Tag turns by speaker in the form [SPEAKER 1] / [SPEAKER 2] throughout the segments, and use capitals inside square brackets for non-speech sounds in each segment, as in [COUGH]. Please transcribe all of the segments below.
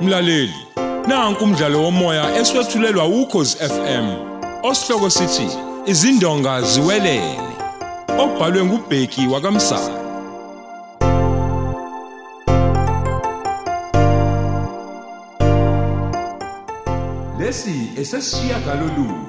[SPEAKER 1] Mlaleli, nanku umdlalo womoya eswetshulelwa ukhozi FM. Osihloko sithi izindonga ziwelele. Obhalwe ngubheki wakamsana. Lesi esesishiya galolunye.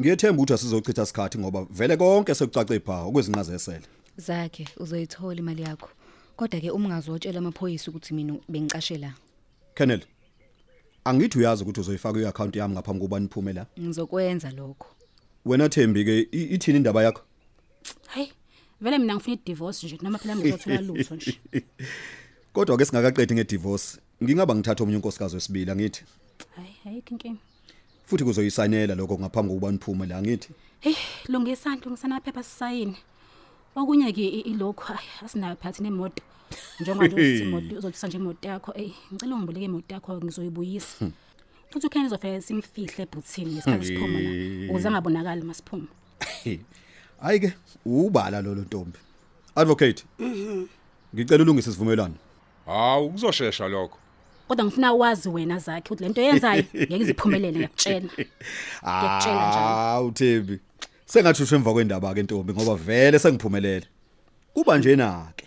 [SPEAKER 2] Ngiyethemba ukuthi asizochitha isikhathi ngoba vele konke sekucace pha okwezinqazesele.
[SPEAKER 3] Zakhe uzoyithola imali yakho. Kodwa ke ungazotshela amaphoyisa ukuthi mina bengicashe la.
[SPEAKER 2] Colonel. Angithi uyazi ukuthi uzoyifaka iaccount yami ngaphambi kobani iphume la.
[SPEAKER 3] Ngizokwenza lokho.
[SPEAKER 2] Wena Thembi ke i- ithini indaba yakho?
[SPEAKER 4] hayi vele mina ngifuna i-divorce nje noma phela ngizothola lutho nje
[SPEAKER 2] Kodwa ke singakaqedi ngedivorce. Ngingaba ngithatha omunye unkosikazi wesibili angithi.
[SPEAKER 4] hayi ayikho inkinga
[SPEAKER 2] Futhi kuzoyisanela lokho ngaphambi kobani iphume la angithi.
[SPEAKER 4] heyi lungisani lungisana amaphepha sisayine okunye-ke i- ilokhu ayi, asinayo phathi nemoto njengoba nje usithi imoto- uzothisa nje imoto yakho eyi ngicela ungibuleke imoto yakho ngizoyibuyisa futhi ukhanye uzofika simfihle ebhuthini ngesikhathi siphuma la ukuze angabonakali masiphuma
[SPEAKER 2] Hayi ke ubala lo ntombi. Advocate. Ngicela ulungise isivumelwano.
[SPEAKER 1] Hawu kuzosheshsha lokho.
[SPEAKER 4] kodwa ngifuna wazi wena zakhe ukuthi lento yenzayo ngeke iziphumelele ngiyakutshela Ngiyakutshela njalo.
[SPEAKER 2] Uthembi. Sengathushwe emva kwendaba ke ntombi ngoba vele sengiphumelele. Kuba nje nake.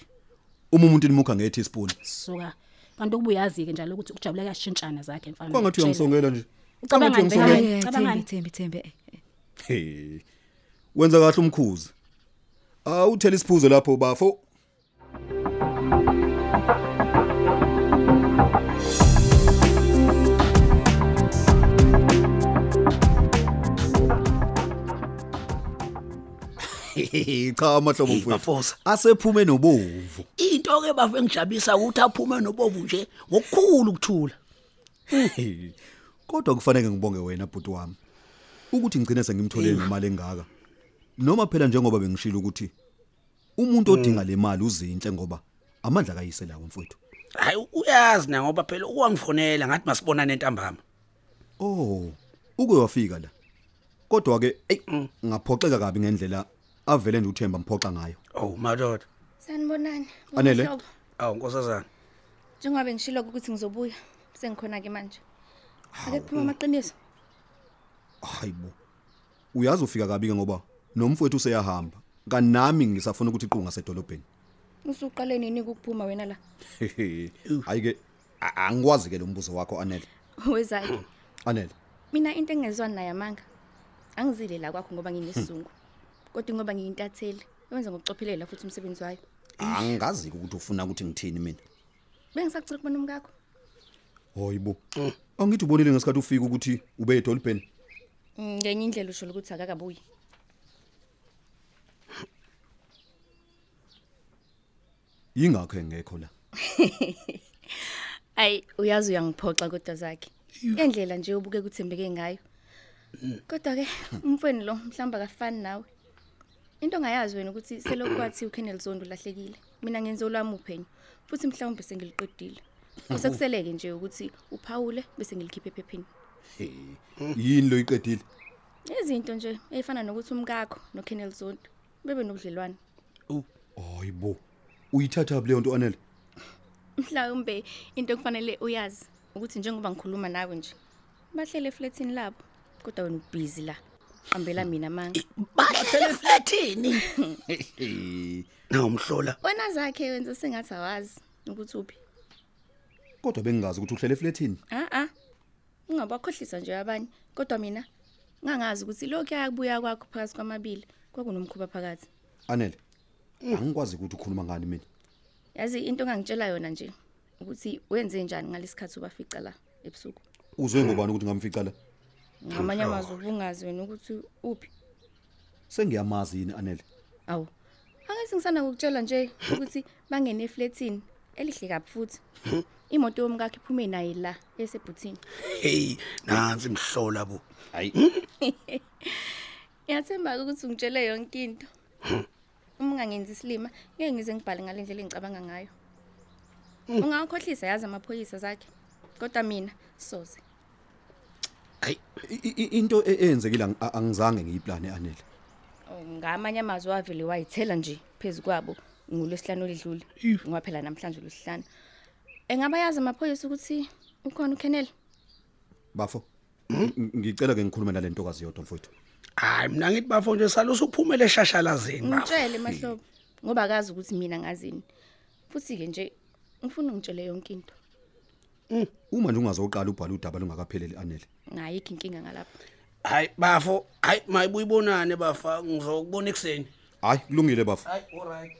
[SPEAKER 2] Uma umuntu nimukha ngethi spoon.
[SPEAKER 4] suka kanti ukubuyazi-ke njalo ukuthi ukujabula kuyashintshana zakhe mfana,
[SPEAKER 2] Kwangathi
[SPEAKER 4] ngiyakutshela.
[SPEAKER 2] uyangisongela nje.
[SPEAKER 4] Ucabanga
[SPEAKER 2] Kwangathi
[SPEAKER 4] nje,
[SPEAKER 2] uyangisongela.
[SPEAKER 4] Hayi,
[SPEAKER 3] Thembi
[SPEAKER 4] cabangani.
[SPEAKER 3] Thembi Thembi. eh, eh.
[SPEAKER 2] Hey. Wenza kahle umkhuzi. Ah uthela isiphuzo lapho bafo. Cha amahlobo mfowethu.
[SPEAKER 5] Mafosa.
[SPEAKER 2] Asephume nobomvu.
[SPEAKER 5] into ke bafo engijabulisa ukuthi aphume nobovu nje ngokukhulu ukuthula
[SPEAKER 2] Hey. Kodwa kufanele ngibonge wena bhuti wami. Ukuthi ngicine sengimthole imali engaka. Noma phela njengoba bengishilo ukuthi umuntu odinga le mali uzinhle ngoba amandla kayise lawo mfowethu.
[SPEAKER 5] hayi uyazi na ngoba phela ukwangifonela ngathi masibonane ntambama
[SPEAKER 2] Oh, uke wafika la. Kodwa ke ey ngaphoxeka kabi ngendlela avele nje uThemba mphoxa ngayo.
[SPEAKER 5] oh madoda
[SPEAKER 6] Sanibonani. bonke
[SPEAKER 2] Anele.
[SPEAKER 6] hlobo.
[SPEAKER 5] awu nkosazana
[SPEAKER 6] Njengoba bengishilo ukuthi ngizobuya, sengikhona ke manje. Ake kuphuma amaqiniso.
[SPEAKER 2] Hayibo. Uyazi ufika kabi ke ngoba nomfowethu useyahamba. Kanami ngisafuna ukuthi iqunga sedolobheni.
[SPEAKER 6] Usuqale nini ukuphuma wena la? [LAUGHS]
[SPEAKER 2] Hayi ke a- angikwazi ke lo mbuzo wakho Anele.
[SPEAKER 6] Wezakhe.
[SPEAKER 2] Anele.
[SPEAKER 6] Mina into engezwani naye amanga. Angizile la kwakho ngoba nginesizungu. Kodwa ngoba ngiyintatheli, wenza ngokucophelela futhi umsebenzi wayo.
[SPEAKER 2] Angazi ukuthi ufuna ukuthi ngithini mina.
[SPEAKER 6] Bengisacela ukubona umkakho.
[SPEAKER 2] Hayibo. Angithi ubonile ngesikhathi ufika ukuthi ube edolbheni.
[SPEAKER 6] Mm, Ngenye indlela usho ukuthi akakabuyi.
[SPEAKER 2] Yingakho engekho la.
[SPEAKER 6] Ayi, uyazi uyangiphoxa kodwa zakhe. Indlela nje yobuke kuthembeke ngayo. Kodwa ke umfweni lo mhlamba kafani nawe. Into ngayazi wena ukuthi selokwathi uKenneth Zondo lahlekile. Mina ngenze olwami uphenyo. Futhi mhlawumbe sengiliqedile. Kusekuseleke nje ukuthi uPaul bese ngilikhiphe ephepheni.
[SPEAKER 2] Mm. Yini lo iqedile?
[SPEAKER 6] Izinto nje efana nokuthi umkakho noKenneth Zondo bebe nobudlelwane.
[SPEAKER 2] Hayibo. Uyithatha leyo nto Anele.
[SPEAKER 6] Mhlawumbe into okufanele uyazi ukuthi njengoba ngikhuluma nawe nje bahlele flatini labo kodwa wena ubhizi la. Qambela mina manga.
[SPEAKER 5] bahlele flatini nawumhlola
[SPEAKER 6] Wena zakhe wenza sengathi awazi ukuthi uphi.
[SPEAKER 2] Kodwa bengingazi ukuthi uhlele flatini.
[SPEAKER 6] Ah ah. Ungabakhohlisa nje abanye kodwa mina ngangazi ukuthi lokhu ayakubuya kwakho phakathi kwamabili kwakunomkhuba phakathi.
[SPEAKER 2] Anele. Angikwazi ukuthi ukhuluma ngani mina.
[SPEAKER 6] Yazi into engangitshela yona nje ukuthi wenze njani ngalesikhathi ubafica la ebusuku.
[SPEAKER 2] Uzwe ngobani ukuthi ngamfica la?
[SPEAKER 6] Ngamanye amazwi ubungazi wena ukuthi uphi.
[SPEAKER 2] Sengiyamazi yini Anele.
[SPEAKER 6] Awu. Angathi ngisana ukutshela nje ukuthi bangene eflatini elihle kabi futhi. Imoto yomkakhe iphume naye la esebhuthini.
[SPEAKER 5] hey nansi mhlola bo
[SPEAKER 2] Hayi.
[SPEAKER 6] Ngiyathemba ukuthi ungitshele yonke into. Uma ungangenzi isilima, ngeke ngize ngibhale ngale ndlela engicabanga ngayo. Ungakhohlisa yazi amaphoyisa zakhe. Kodwa mina soze.
[SPEAKER 2] I- i- i- into e- eyenzekile ang- a- angizange ngiyiplane anele
[SPEAKER 7] Oh, ngamanye amazwi wavele wayithela nje phezu kwabo ngolwesihlanu olidlule ngoba phela namhlanje olwesihlanu engabayazi amaphoyisa ukuthi ukhona uKenneth
[SPEAKER 2] bafo ng- ngicela ke ngikhulume nale ntokazi yodwa mfowethu
[SPEAKER 5] hayi mina ngithi bafo nje salosu uphumele eshashalazeni bafo
[SPEAKER 7] ngitshele mahlobo ngoba akazi ukuthi mina ngazini futhi ke nje ngifuna ungitshele yonke into
[SPEAKER 2] uma nje ungazoqala ubhala udaba lungakapheleli anele
[SPEAKER 7] ngayikho inkinga ngalapha
[SPEAKER 5] hayi bafo hayi mayibuye ibonane bafa ngizokubona ekuseni
[SPEAKER 2] hayi kulungile bafo
[SPEAKER 5] hayi alright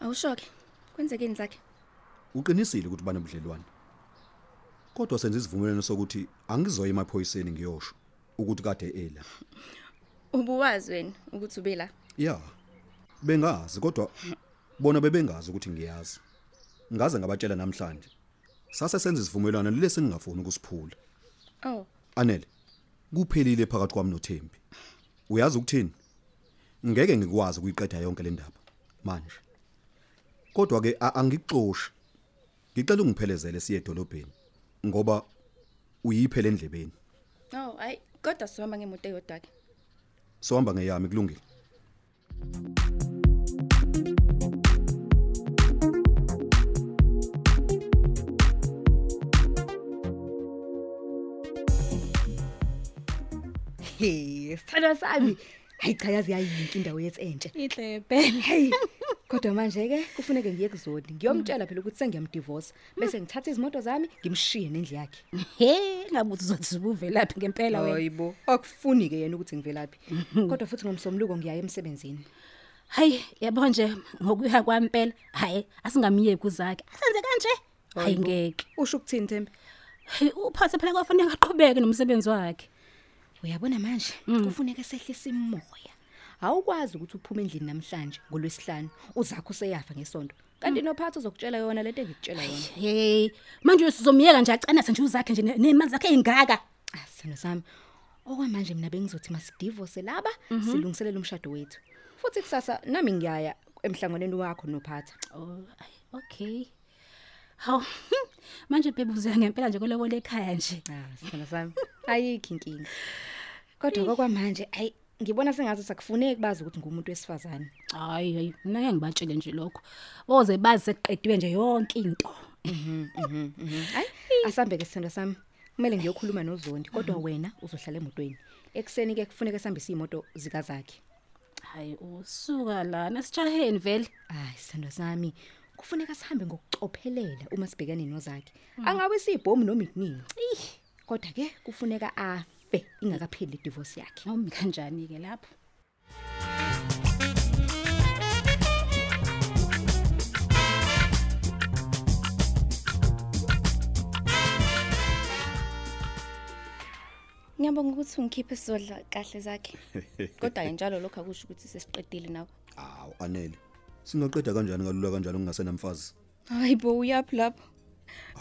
[SPEAKER 7] awushoke kwenzekeni zakhe
[SPEAKER 2] uqinisile ukuthi banobudlelwane kodwa senze isivumelwano sokuthi angizoya emaphoyiseni ngiyosho ukuthi kade ela
[SPEAKER 7] ubuwazi wena ukuthi ube la
[SPEAKER 2] ya bengazi kodwa bona bebengazi ukuthi ngiyazi ngaze ngabatshela namhlanje sase senze isivumelwano lesi ngingafuni ukusiphula
[SPEAKER 7] oh
[SPEAKER 2] Anele, kuphelile phakathi kwami noThembi. Uyazi ukuthini? Ngeke ngikwazi ukuyiqeda yonke le ndaba manje. Kodwa ke a- angikuxoshi. Ngicela ungiphelezele siye edolobheni ngoba uyiphele endlebeni.
[SPEAKER 7] oh hayi kodwa sihamba ngemoto eyodwa ke
[SPEAKER 2] Sohamba ngeyami kulungile.
[SPEAKER 6] Hey, sithandwa sami. Hayi cha yazi yayinkinga indawo yethu entshe.
[SPEAKER 4] Idlebe.
[SPEAKER 6] Hey, kodwa manje ke kufuneke ngiye kuzodi. Ngiyomtshela phela ukuthi sengiyamdivorce bese ngithatha izimoto zami ngimshiye nendle yakhe.
[SPEAKER 4] He, ngabuthi uzothi ubuvelaphi ngempela wena.
[SPEAKER 6] Hayibo, akufuni ke yena ukuthi ngivelaphi. Kodwa futhi ngomsomluko ngiyaye emsebenzini.
[SPEAKER 4] Hayi, yabo nje ngokuya kwampela. Hayi, asingamiye kuzakhe. Asenze kanje. Hayi
[SPEAKER 6] Hayibo.
[SPEAKER 4] ngeke.
[SPEAKER 6] Usho ukuthini Thembi?
[SPEAKER 4] Hey, uphathe phela kwafanele aqhubeke nomsebenzi wakhe.
[SPEAKER 6] Uyabona manje kufuneka sehlise imoya. Awukwazi ukuthi uphume endlini namhlanje ngolwesihlanu uzakho seyafa ngesonto. Kanti nophatha uzokutshela yona lento engikutshela yona.
[SPEAKER 4] Hey, manje usizomiyeka nje acana senje uzakhe nje ne- nemali zakhe ezingaka.
[SPEAKER 6] asithando Ah, sami okwamanje mina bengizothi masidivorce laba silungiselele umshado wethu futhi kusasa nami ngiyaya emhlanganweni wakho nophatha
[SPEAKER 4] Oh, ayi, okay. Haw. Manje babe uzoya ngempela nje koloko lekhaya nje.
[SPEAKER 6] asithando Ah, sami [LAUGHS] ayikho inkinga kodwa okwamanje ayi ngibona sengathi sakufuneki bazi ukuthi ngumuntu wesifazane
[SPEAKER 4] Hayi, hayi, mina ngeke ngibatshele nje lokho. Boze bazi sekuqedwe nje yonke into.
[SPEAKER 6] hayi asambe ke sithando sami kumele ngiyokhuluma nozondi kodwa wena uzohlala emotweni ekuseni ke kufuneka sihambise imoto zikazakhe
[SPEAKER 4] Hayi, usuka lana sijaheni vele.
[SPEAKER 6] hayi sithando sami kufuneka sihambe ngokucophelela uma sibhekane nozakhe
[SPEAKER 7] Mm.
[SPEAKER 6] angabe siyibhomu noma ikuningi kodwa-ke kufuneka afe ingakapheli idivosi yakhe
[SPEAKER 4] Noma kanjani ke lapho?
[SPEAKER 7] ngiyabonga ukuthi ungikhiphe sizodla kahle zakhe kodwa ke njalo lokho akusho ukuthi sesiqedile nawe
[SPEAKER 2] Awu anele. Singaqeda kanjani kalula kanjalo ngingasenamfazi?
[SPEAKER 7] hayi bo uyaphi lapho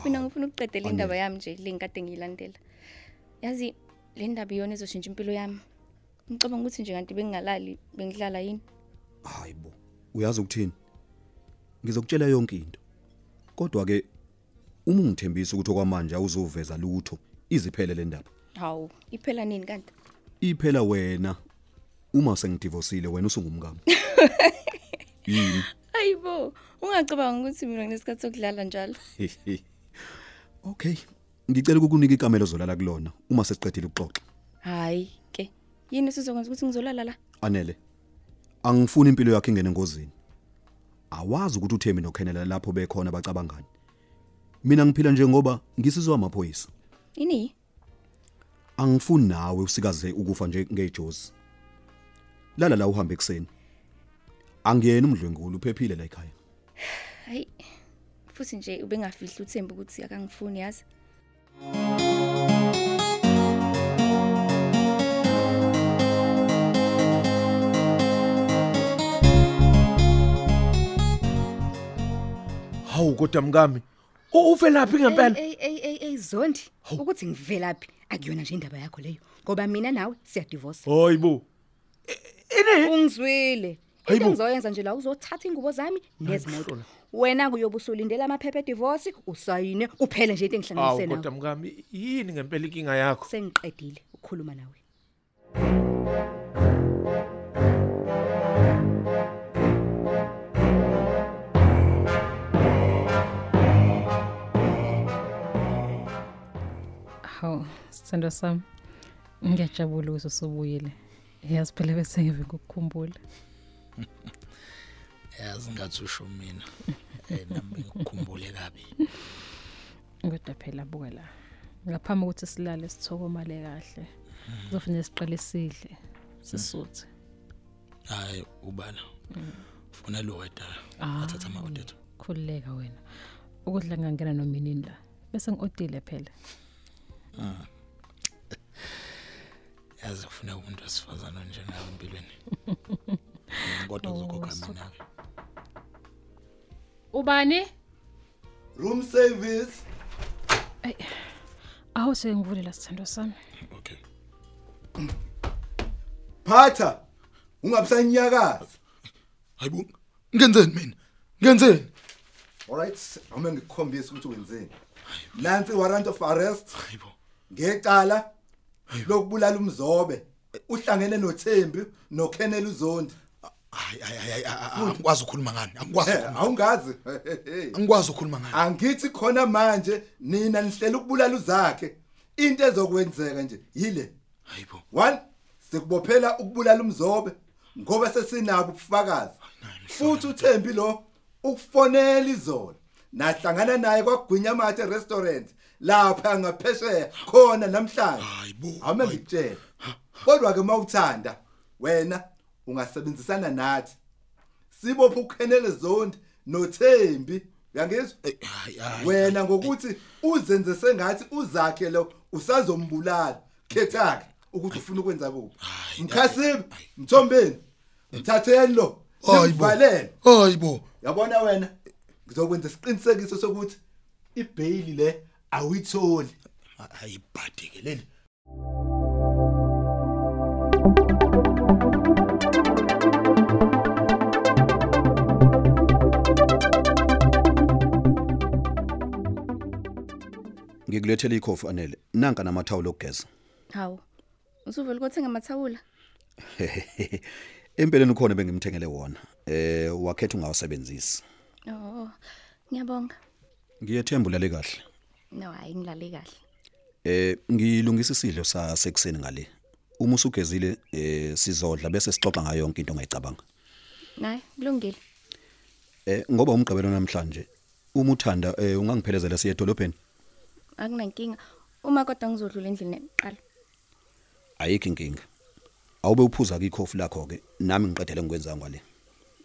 [SPEAKER 7] mina ngifuna ukuqedela
[SPEAKER 2] Anele.
[SPEAKER 7] indaba yami nje le ngikade ngiyilandela yazi le ndaba iyona ezoshintsha impilo yami ngicabanga ukuthi nje kanti bengingalali bengidlala yini
[SPEAKER 2] Hayibo. Uyazi ukuthini? Ngizokutshela yonke into. Kodwa ke uma ungithembisa ukuthi okwamanje awuzuveza lutho iziphele le ndaba.
[SPEAKER 7] hawu iphela nini kanti
[SPEAKER 2] iphela wena uma sengidivosile wena usungumkami
[SPEAKER 7] hayi bo ungacabangi ukuthi mina nginesikhathi sokudlala njalo
[SPEAKER 2] okay ngicela ukukunika ikamelo zolala kulona uma sesiqedile ukuxoxa
[SPEAKER 7] hayi ke yini esizokwenza ukuthi ngizolala la
[SPEAKER 2] anele angifuni impilo yakhe ingene engozini awazi ukuthi uthembi nokhenela lapho bekhona bacabangani mina ngiphila nje ngoba ngisizwa amaphoyisa
[SPEAKER 7] ini
[SPEAKER 2] angifuni nawe usikaze ukufa nje ngejozi lala la uhambe ekseni angiyena umdlwengulu uphephile la ekhaya
[SPEAKER 7] hayi futhi nje ubengafihli uthemba ukuthi akangifuni yazi
[SPEAKER 8] hawu kodwa mkami u- uvelaphi ngempela
[SPEAKER 6] Ey, ey ey ey zondi ukuthi ngivelaphi akuyona nje indaba yakho leyo ngoba mina nawe siyadivorce
[SPEAKER 8] hayi bo
[SPEAKER 6] ungizwile
[SPEAKER 8] Hayibo.
[SPEAKER 6] into ngizoyenza nje la uzothatha ingubo zami nezimoto
[SPEAKER 8] Hayibo, Hlola.
[SPEAKER 9] wena kuyobusulindela amaphepha edivorce usayine kuphele nje into engihlanganise
[SPEAKER 8] awu
[SPEAKER 9] nawe
[SPEAKER 8] kodwa mngami yini ngempela inkinga yakho
[SPEAKER 9] sengiqedile ukukhuluma nawe
[SPEAKER 10] Haw, sithandwa sami. Ngiyajabula ukuthi usubuyile. Yazi phela bese
[SPEAKER 5] [LAUGHS]
[SPEAKER 10] ngive ukukhumbula.
[SPEAKER 5] yazi ngathi usho mina eh nami ngikukhumbule kabi
[SPEAKER 10] Kodwa phela buka la. Ngaphambi ukuthi silale sithokomale kahle.
[SPEAKER 5] Mhm.
[SPEAKER 10] Kuzofanele siqale sidle
[SPEAKER 5] Mhm.
[SPEAKER 10] sisuthe. Mhm.
[SPEAKER 5] hayi ubana ufuna lo weda athatha ama order
[SPEAKER 10] Ah, Khululeka wena. Ukudla ngingangena nominini la. Bese ngiodile phela.
[SPEAKER 5] yazi ufuna umuntu osifazana njengawe empilweni kodwa uzokhokha mina
[SPEAKER 10] Ubani?
[SPEAKER 11] Room service.
[SPEAKER 10] Awu sengivulela sithandwa sami.
[SPEAKER 5] okay
[SPEAKER 11] Phatha. Ungabusanyakazi.
[SPEAKER 5] hayibo ngenzeni mina ngenzeni
[SPEAKER 11] Alright, noma ngikukhombisa ukuthi wenzeni. Nansi warrant of arrest
[SPEAKER 5] hayibo
[SPEAKER 11] ngecala lokubulala umzobe. Uhlangene noThembi noKenel uZondi.
[SPEAKER 5] hayi hayi hayi angikwazi ukukhuluma ngani angikwazi
[SPEAKER 11] Eh,
[SPEAKER 5] ukukhuluma
[SPEAKER 11] awungazi.
[SPEAKER 5] angikwazi ukukhuluma ngani
[SPEAKER 11] Angithi khona manje nina nihlela ukubulala uzakhe. Into ezokwenzeka nje yile.
[SPEAKER 5] hayibo
[SPEAKER 11] One sikubophela ukubulala umzobe ngoba sesinabo ubufakazi. Futhi uThembi lo ukufonela izolo. Nahlangana naye kwagwinya mathe restaurant lapha ngaphesheya khona namhlanje.
[SPEAKER 5] hayibo
[SPEAKER 11] Ame ngitshela. Kodwa ke mawuthanda wena ungasebenzisana nathi. Sibophe ukhenele zonke noThembi. Uyangizwa?
[SPEAKER 5] hayi hayi
[SPEAKER 11] wena ngokuthi uzenze sengathi uzakhe lo usazombulala khethake ukuthi ufuna ukwenza kuphi mkhasibe mthombeni mthatheni lo
[SPEAKER 5] Hayibo.
[SPEAKER 11] simvalele
[SPEAKER 5] hayibo
[SPEAKER 11] yabona wena ngizokwenza isiqinisekiso sokuthi ibhayili le awuyitholi
[SPEAKER 5] ayibhadekeleli
[SPEAKER 2] Ngikulethele ikhofi anele. Nanka namathawulo okugeza.
[SPEAKER 6] Hawu. Usuvele ukuthenga amathawula?
[SPEAKER 2] [LAUGHS] Empeleni ukhona bengimthengele wona. Eh wakhetha ungawasebenzisi.
[SPEAKER 6] Oh. Ngiyabonga.
[SPEAKER 2] Ngiyethemba ulale kahle.
[SPEAKER 6] No, hayi ngilale kahle.
[SPEAKER 2] Eh ngilungisa isidlo sasekuseni ngale. Uma usugezile eh sizodla bese sixoxa ngayo yonke into ongayicabanga.
[SPEAKER 6] Hayi, kulungile.
[SPEAKER 2] Eh ngoba umgqibelo namhlanje uma uthanda eh ungangiphelezela siye edolobheni.
[SPEAKER 6] Akunankinga. Uma kodwa ngizodlula endlini eqala.
[SPEAKER 2] Ayikho inkinga. Awube uphuza ke ikhofi lakho ke nami ngiqedele ngikwenza ngale.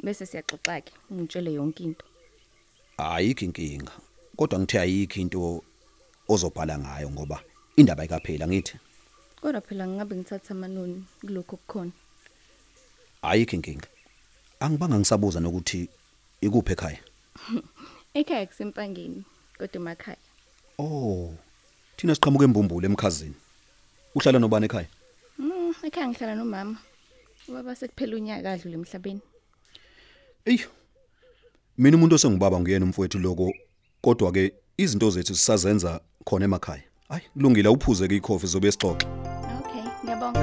[SPEAKER 6] Bese siyaxoxa ke, ungitshele yonke into.
[SPEAKER 2] Ayikho inkinga. Kodwa ngithe ayikho into ozobhala ngayo ngoba indaba ayikaphela ngithi.
[SPEAKER 6] Kodwa phela ngingabe ngithatha amanoni kulokho okukhona.
[SPEAKER 2] Ayikho inkinga. Angibanga ngisabuza nokuthi ikuphe ekhaya.
[SPEAKER 6] Ekhaya kusempangeni, kodwa emakhaya.
[SPEAKER 2] Oh. Thina siqhamuke embumbulo emkhazini. Uhlala nobani ekhaya?
[SPEAKER 6] Mm, ekhaya ngihlala nomama. Ubaba sekuphela unyaka adlule emhlabeni.
[SPEAKER 2] Ey. Mina umuntu osengubaba nguyena umfowethu loko kodwa ke izinto zethu sisazenza khona emakhaya. Hayi, kulungile uphuze ke ikhofi zobe sixoxe.
[SPEAKER 6] Okay, ngiyabonga.